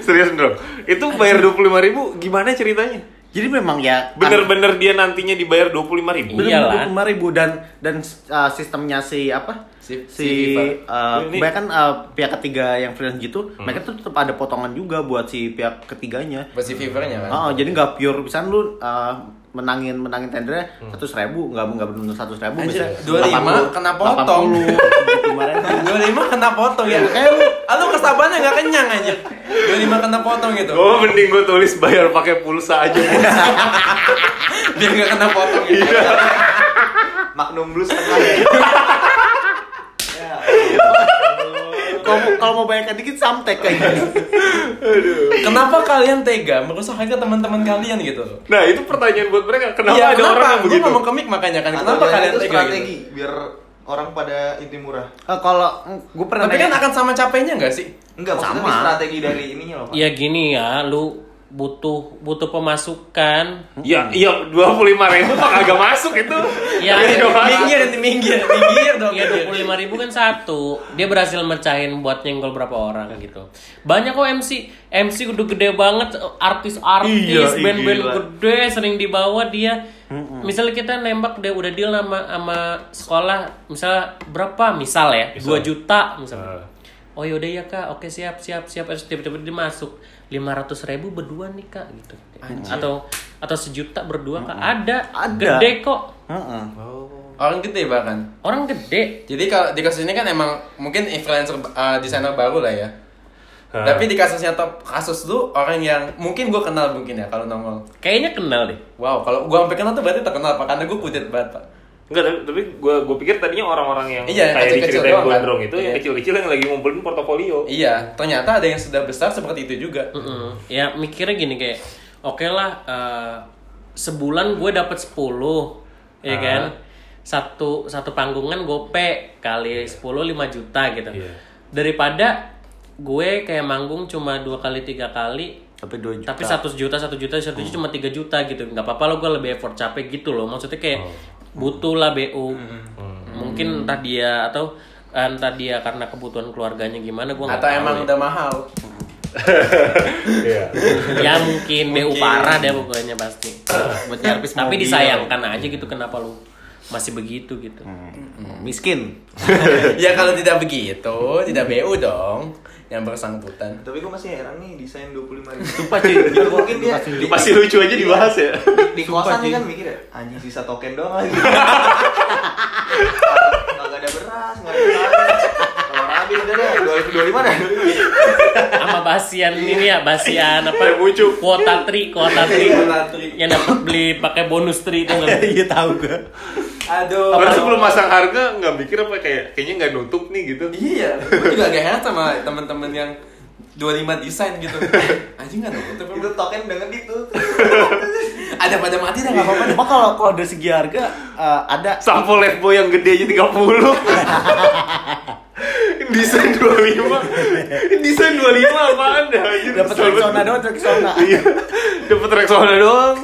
Serius dong. Itu bayar 25.000 gimana ceritanya?
Jadi memang ya
Bener-bener dia nantinya dibayar 25.000 ribu.
belum
Iyalah.
ribu dan dan uh, sistemnya si apa
Si-
si,
si Viva.
uh,
Ini-
kebanyakan uh, pihak ketiga yang freelance gitu mereka tuh tetap ada potongan juga buat si pihak ketiganya
pasti fevernya kan
Oh, jadi nggak pure pisan lu uh, menangin menangin tendernya seratus ribu nggak nggak benar seratus ribu
Anjir,
bisa
25 kena potong.
80, 25.000.
dua lima kena potong ya kayak lu ah, lu kesabarannya nggak kenyang aja dua lima kena potong gitu
Gue Oh, mending gue tulis bayar pakai pulsa aja.
biar nggak kena potong gitu
Iya.
Magnum Blue setengah. ya.
Kalau mau- kalau mau bayangkan dikit samtek kayak gitu.
kenapa kalian tega merusak harga teman-teman kalian gitu loh
Nah itu pertanyaan buat mereka. Kenapa
Iya,
ada orang yang
Gua
begitu?
ngomong komik makanya kan kenapa
Atau jangan
kalian
itu
tega gitu
strategi biar orang pada inti murah.
Eh, kalau gue pernah
tapi kan
nanya-
akan sama capeknya nggak sih
Enggak, maksudnya
Sama.
ini strategi dari ininya loh, Pak.
ya gini ya lu butuh butuh pemasukan
Ya, iya 25.000 mah kagak masuk itu.
Iya,
Kagak
iya,
masuk.
minggir minggir minggir dong
Iya
minggir.
dua ribu kan satu, dia berhasil mecahin buat nyenggol berapa orang gitu. Banyak kok MC, MC udah gede banget,
Iya,
artis-artis,
ih,
band-band
gila.
gede sering dibawa dia. Misalnya kita nembak dia udah deal sama sama sekolah, misalnya berapa misal ya,
Misal.
2 juta misalnya.
Ah.
Oh yaudah ya kak, oke siap siap siap. Terus tiba-tiba dia masuk lima ratus ribu berdua nih kak gitu. Atau atau sejuta berdua kak ada,
Ada.
gede kok.
Heeh.
orang gede bahkan
Orang gede
Jadi kalau di kasus ini kan emang mungkin influencer uh, desainer baru lah ya.
Hah.
Tapi di kasusnya top kasus lu orang yang mungkin gue kenal mungkin ya kalau nongol.
kayaknya kenal deh.
Wow, kalau gue sampai kenal tuh berarti terkenal pak karena gue kudet banget pak.
Enggak, tapi, tapi gue gue pikir tadinya orang-orang yang
Iya, yang
kayak
kecil-kecil
diceritain
doang kan.
gondrong itu yang
Iya.
kecil-kecil yang lagi ngumpulin portofolio.
Iya, ternyata ada yang sudah besar seperti itu juga.
Mm-mm. Ya mikirnya gini kayak, oke lah eh, sebulan gue dapat 10
Ah.
ya kan. Satu satu panggungan gope
Iya.
kali 10 5 juta gitu.
Iya.
Daripada gue kayak manggung cuma dua kali tiga kali
Tapi dua juta. Oh.
tapi satu juta satu juta satu juta cuma 3 juta gitu nggak apa-apa lo gue lebih effort capek gitu loh maksudnya kayak
Oh.
butuh lah bu
Hmm.
mungkin entah dia atau entah dia karena kebutuhan keluarganya gimana gue nggak
Atau
tahu ya.
emang udah mahal.
Iya.
ya mungkin BU parah deh pokoknya pasti
Buat nyerpis
tapi
mobil.
disayangkan aja gitu kenapa lu masih begitu gitu
Hmm, miskin.
ya kalau tidak begitu, tidak BU dong yang bersangkutan.
Nah, Tapi gue masih heran nih desain 25 ribu. Ya,
Sumpah, cuy. Gua-
mungkin dia
pasti-
di, Iya.
Pasti lucu aja dibahas ya.
di kosan dia kan mikir ya, anjing sisa token doang lagi. Enggak ada beras, enggak ada beras. Kamar habis udah deh, 2025 dah.
sama basian ini ya basian
Kayak
apa
bucu.
kuota tri kuota tri
Kuota tri.
yang dapat beli pakai bonus tri itu nggak
Iya tahu gue.
Aduh.
Orang sebelum masang harga nggak mikir apa kayak kayaknya nggak nutup nih gitu.
Iya, gue juga agak heran sama teman-teman yang 25 desain gitu. Anjing kan nutup
Itu
emang.
token dengan itu.
Ada pada mati dah enggak apa-apa.
Cuma kalau kalau dari segi harga eh, ada
Sampo Lefboy yang gede aja 30 Desain 25 Desain 25 apaan dah anjir?
dapat
Kesel banget.
Rexona doang Rexona.
Iya Dapat Rexona doang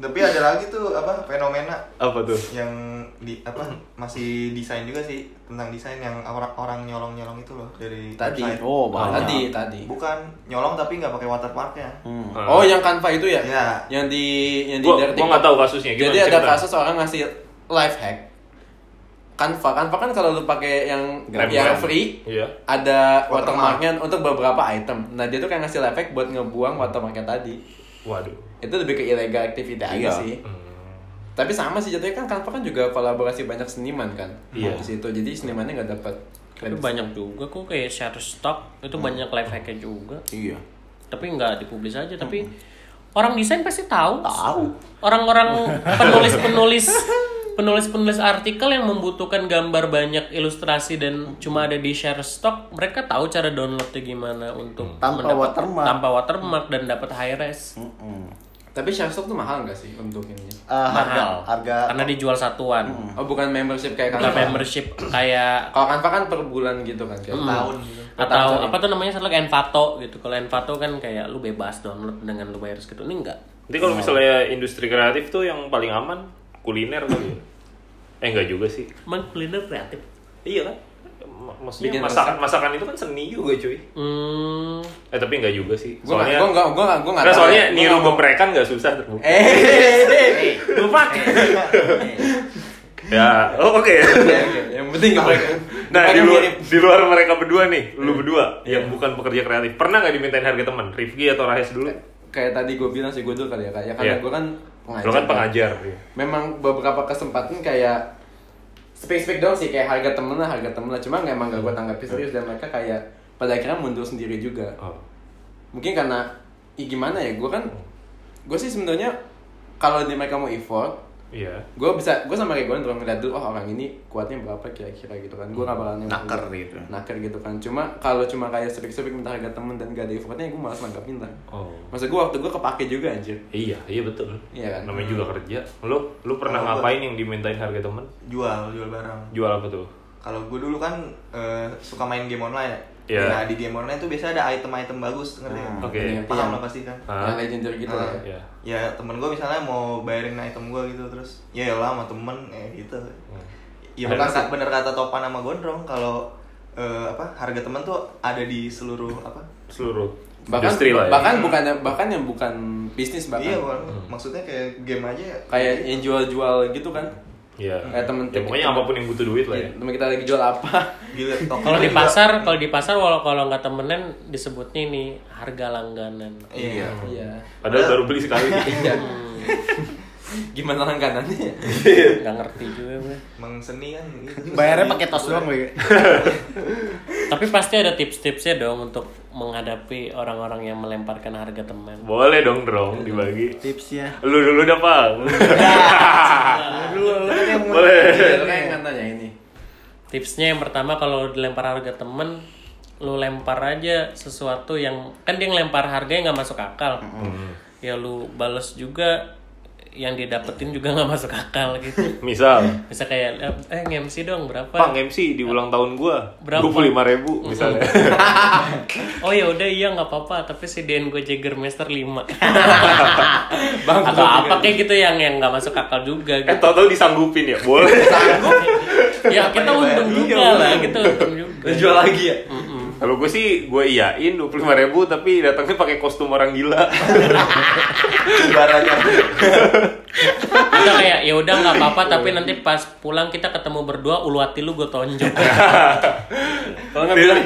tapi ada lagi tuh apa fenomena
Apa tuh?
yang di apa masih desain juga sih tentang desain yang orang orang nyolong nyolong itu loh dari
Tadi.
website.
Oh, banyak.
Tadi, tadi.
bukan nyolong tapi nggak pakai waterparknya
Hmm.
Oh, yang Canva itu ya?
Iya.
Yang di yang di
Ah. Gua-
dari
gua nggak tahu kasusnya, gimana?
Jadi ada
Ceritain.
kasus orang ngasih life hack. Canva, Canva kan kalau lu pakai yang
Grab
yang
brand.
free,
Iya.
ada
Watermark.
watermarknya untuk beberapa item. Nah, dia tuh kayak ngasih life hack buat ngebuang watermarknya tadi.
Waduh.
Itu lebih ke illegal activity
Iya.
aja sih.
Hmm.
Tapi sama sih jatuhnya kan Canva kan juga kolaborasi banyak seniman kan.
Iya.
Di situ. Jadi senimannya nggak dapat
Iya.
Tapi
kredit.
banyak juga kok kayak share stock itu banyak life hacknya juga.
Hmm. Iya. Hmm.
Tapi nggak dipublis aja. Tapi orang desain pasti tahu. Tahu. Orang-orang penulis penulis penulis penulis artikel yang membutuhkan gambar banyak ilustrasi dan cuma ada di share stock mereka tahu cara downloadnya gimana untuk
Tanpa Hmm. watermark.
tanpa watermark dan dapat high res
Mm-mm.
Tapi share stock tuh mahal nggak sih untuk ini?
Eh, harga
mahal
harga Hmm.
karena dijual satuan
Oh, bukan membership kayak
bukan
Canva.
membership kayak
Kalau Canva kan per bulan gitu kan kayak.
tahun gitu
atau apa tuh namanya satu lagi Envato gitu kalau Envato kan kayak lu bebas download dengan lu bayar segitu ini enggak
Jadi kalau misalnya industri kreatif tuh yang paling aman kuliner kali ya? Eh enggak juga sih.
emang kuliner kreatif
Iya kan? M- Maksudnya
Bikin
masakan masakan itu kan seni juga cuy.
hmm
Eh tapi enggak juga sih.
Gue gak,
Soalnya
gue gak, gue gak, gue gak
Nah, soalnya niru geprekan nggak susah terbukti.
Eh,
lupa
Ya, oh, oke.
eh. yang penting geprek.
Nah,
Geprek
di
yang
luar,
mirip.
di luar mereka berdua nih,
Iya.
lu berdua yang bukan pekerja kreatif, pernah nggak dimintain harga teman? Rifki atau Rahes dulu?
kayak tadi gue bilang sih gue dulu kali ya kak. Ya karena
Iya.
gue kan pengajar.
Lo kan pengajar. ya.
Memang beberapa kesempatan kayak spesifik dong sih kayak harga temen lah, harga temen lah. Cuma nggak emang gak gue tanggapi serius dan mereka kayak pada akhirnya mundur sendiri juga.
Oh.
Mungkin karena i gimana ya gue kan gue sih sebenarnya kalau di mereka mau effort
Iya.
gue bisa gue sama kayak gue nonton ngeliat dulu oh orang ini kuatnya berapa kira-kira gitu kan gue gak bakalan nyuruh
Naker
dulu.
gitu.
naker gitu kan cuma kalau cuma kayak sepik-sepik minta harga temen dan gak ada effortnya gue malas nggak pintar
Oh.
maksud gue waktu gue kepake juga anjir
Iya, iya betul.
Iya kan? Oh,
Namanya juga kerja. Lu lu pernah
Kalau gua-
ngapain yang dimintain harga temen?
jual jual barang
Jual apa tuh?
kalau gue dulu kan eh, suka main game online ya
Iya.
nah di game online tuh biasanya ada item-item bagus ngerti nggak?
Oke.
Iya.
paham lah pasti kan
Ah.
yang legendary gitu
Ah.
lah ya.
Iya.
ya temen gue misalnya mau bayarin item gue gitu terus ya lah sama temen ya gitu ya
Hmm. Ada
bener,
nggak
bener kata Topan sama Gondrong kalau eh, apa harga temen tuh ada di seluruh apa
Seluruh
bahkan
industri lah ya.
bahkan bukan bahkan yang bukan bisnis bahkan
iya bukan. maksudnya kayak game aja
kayak yang jual-jual gitu kan
Iya.
Kayak temen-
ya, pokoknya apapun yang butuh duit lah ya.
temen kita lagi jual apa
gila toko
kalau
gua
di
juga-
pasar kalau di pasar walau kalau nggak temenan disebutnya ini harga langganan
iya
iya
Padahal baru beli sekali.
iya gimana langganannya
nggak ngerti juga gue
emang seni kan gitu.
bayarnya pakai tos doang gue.
tapi pasti ada tips-tipsnya dong untuk menghadapi orang-orang yang melemparkan harga teman
Boleh dong, Drong, dibagi.
Tipsnya.
Lu dulu dah, Pak.
kan
Boleh.
Iya, lu kayak nggak nanya ini
Tipsnya yang pertama kalau dilempar harga temen lu lempar aja sesuatu yang kan dia ngelempar harga yang nggak masuk akal. Ya lu bales juga yang didapetin juga nggak masuk akal gitu.
Misal,
Bisa kayak eh ngemsi dong berapa?
Pak MC di ulang tahun gua
Berapa?
25 ribu misalnya.
Oh ya udah iya nggak apa-apa tapi sediain gue Jagger Master 5.
Bang,
Atau apa kayak gitu yang yang nggak masuk akal juga
eh,
gitu.
tau-tau disanggupin ya? Boleh.
ya kita untung juga lah, kita untung juga.
Lu jual lagi ya
Kalau gue sih, gue iyain 25 ribu, tapi datangnya pakai kostum orang gila.
ibaratnya
Atau kayak ya udah nggak apa-apa tapi nanti pas pulang kita ketemu berdua ulu hati lu gue tonjok.
Kalau nggak bilang,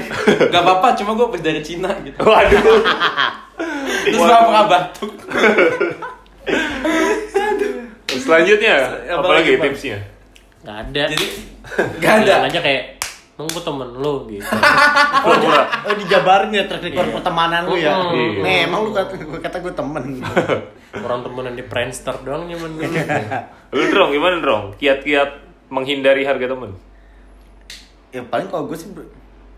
nggak apa-apa, cuma gue pas dari Cina gitu.
Waduh.
Terus nggak pernah batuk.
Selanjutnya,
Se-
apa
apa
lagi
lagi, Pak?
tipsnya?
Nggak ada.
Jadi nggak ada.
Bilang aja kayak emang gue temen lu gitu.
Oh, di, oh, dijabarin ya track record pertemanan lu ya.
Iya.
Nih, emang lu kata gue kata gue temen. gitu.
Orang temenan di Friendster doang nyaman gue.
Lu drong, gimana drong? Kiat-kiat menghindari harga temen?
ya paling kalau gue sih ber-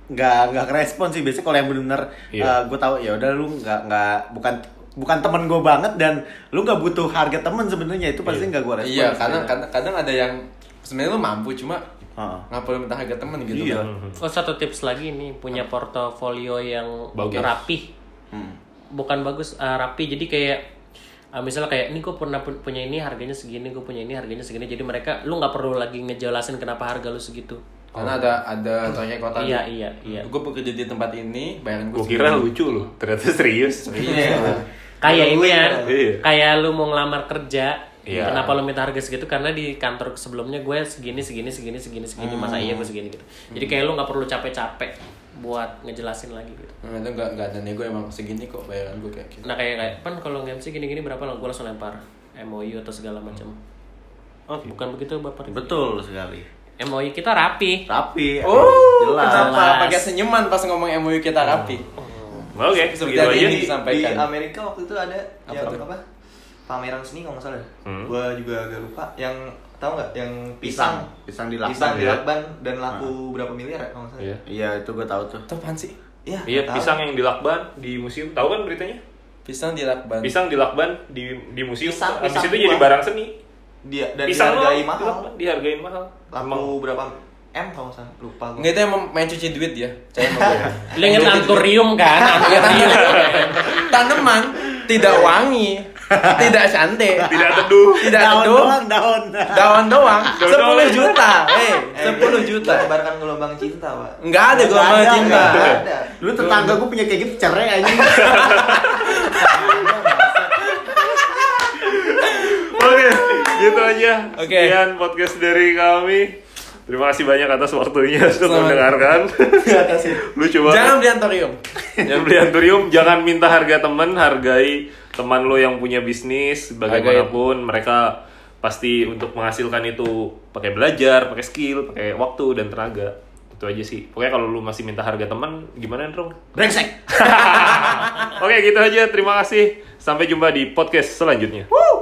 nggak nggak respon sih biasanya kalau yang benar-benar
Iya.
gue tahu ya udah lu nggak nggak bukan bukan temen gue banget dan lu nggak butuh harga temen sebenarnya itu pasti nggak gue respon kan?
Iya, karena kadang, kadang ada yang sebenarnya lu mampu cuma
Heeh.
nggak perlu minta harga temen gitu
Iya.
kan.
Oh satu tips lagi nih punya portofolio yang
Bagus.
rapih. Bukan bagus eh, rapi jadi kayak Ah, misalnya kayak ini gue pernah pu- punya ini harganya segini gue punya ini harganya segini jadi mereka lu nggak perlu lagi ngejelasin kenapa harga lu segitu
Karena ada ada tokonya kota.
iya iya iya
Gue bekerja di tempat ini, bayaran Iya. gue
Gue kira lucu loh, ternyata serius.
kayak ini ya
Iya.
kayak lu mau ngelamar kerja
Iya.
kenapa lu minta harga segitu karena di kantor sebelumnya gue segini segini segini segini segini masa iya gue segini gitu jadi kayak lu nggak perlu capek-capek buat ngejelasin lagi gitu
Nah, itu nggak nggak ada nego emang segini kok bayaran gue kayak gitu.
nah kayak kayak pan kalau nge-MC gini-gini berapa lah gue langsung lempar MOU atau segala macam bukan begitu bapak
Betul sekali.
MOU kita rapi
Tapi
Oh,
jelas.
kenapa pakai senyuman pas ngomong MOU kita rapi?
Oke,
Seperti
gitu
hari
aja.
ini
di
disampaikan.
Amerika waktu itu ada yang apa pameran seni kalau nggak salah gua juga agak lupa yang tahu nggak yang pisang
Pisang dilakban,
pisang
ya.
dilakban dan laku berapa miliar ya kalau nggak salah
Iya.
Iya, itu gue tahu tuh.
Itu apaan sih?
Iya,
Iya,
nggak tahu.
pisang yang dilakban di museum. Tahu kan beritanya?
Pisang dilakban.
Pisang dilakban di di museum.
Pisang-
Habis
pisang
itu jadi
buah.
barang seni.
dia dan
pisang
dihargai
doang
mahal
dilakban, dihargain mahal.
laku berapa m kalau nggak salah lupa gua.
Nggak itu emang main cuci duit ya? Cahaya sama gua.
lu inget anturium kan
Tanaman tidak wangi, tidak cantik,
Tidak teduh.
tidak
daun
teduh,
doang, daun.
dawan doang,
Daun
10
doang.
juta, eh,
Eh,
10 juta.
Menyebarkan gelombang cinta pak
Nggak ada
Nggak
gelombang
ada,
cinta.
nggak
ada.
Lu tetangga gue punya kayak gitu cerai anjing.
Oke, gitu aja.
Oke.
Sekian podcast dari kami. Terima kasih banyak atas waktunya untuk
Selamat-
mendengarkan. Lucu banget.
Jangan beli antorium.
Jangan beli anturium, jangan minta harga temen, hargai teman lo yang punya bisnis bagaimanapun mereka pasti untuk menghasilkan itu pakai belajar, pakai skill, pakai waktu dan tenaga. Itu aja sih. Pokoknya kalau lu masih minta harga teman, gimana Andrew?
Brengsek.
Oke, gitu aja. Terima kasih. Sampai jumpa di podcast selanjutnya.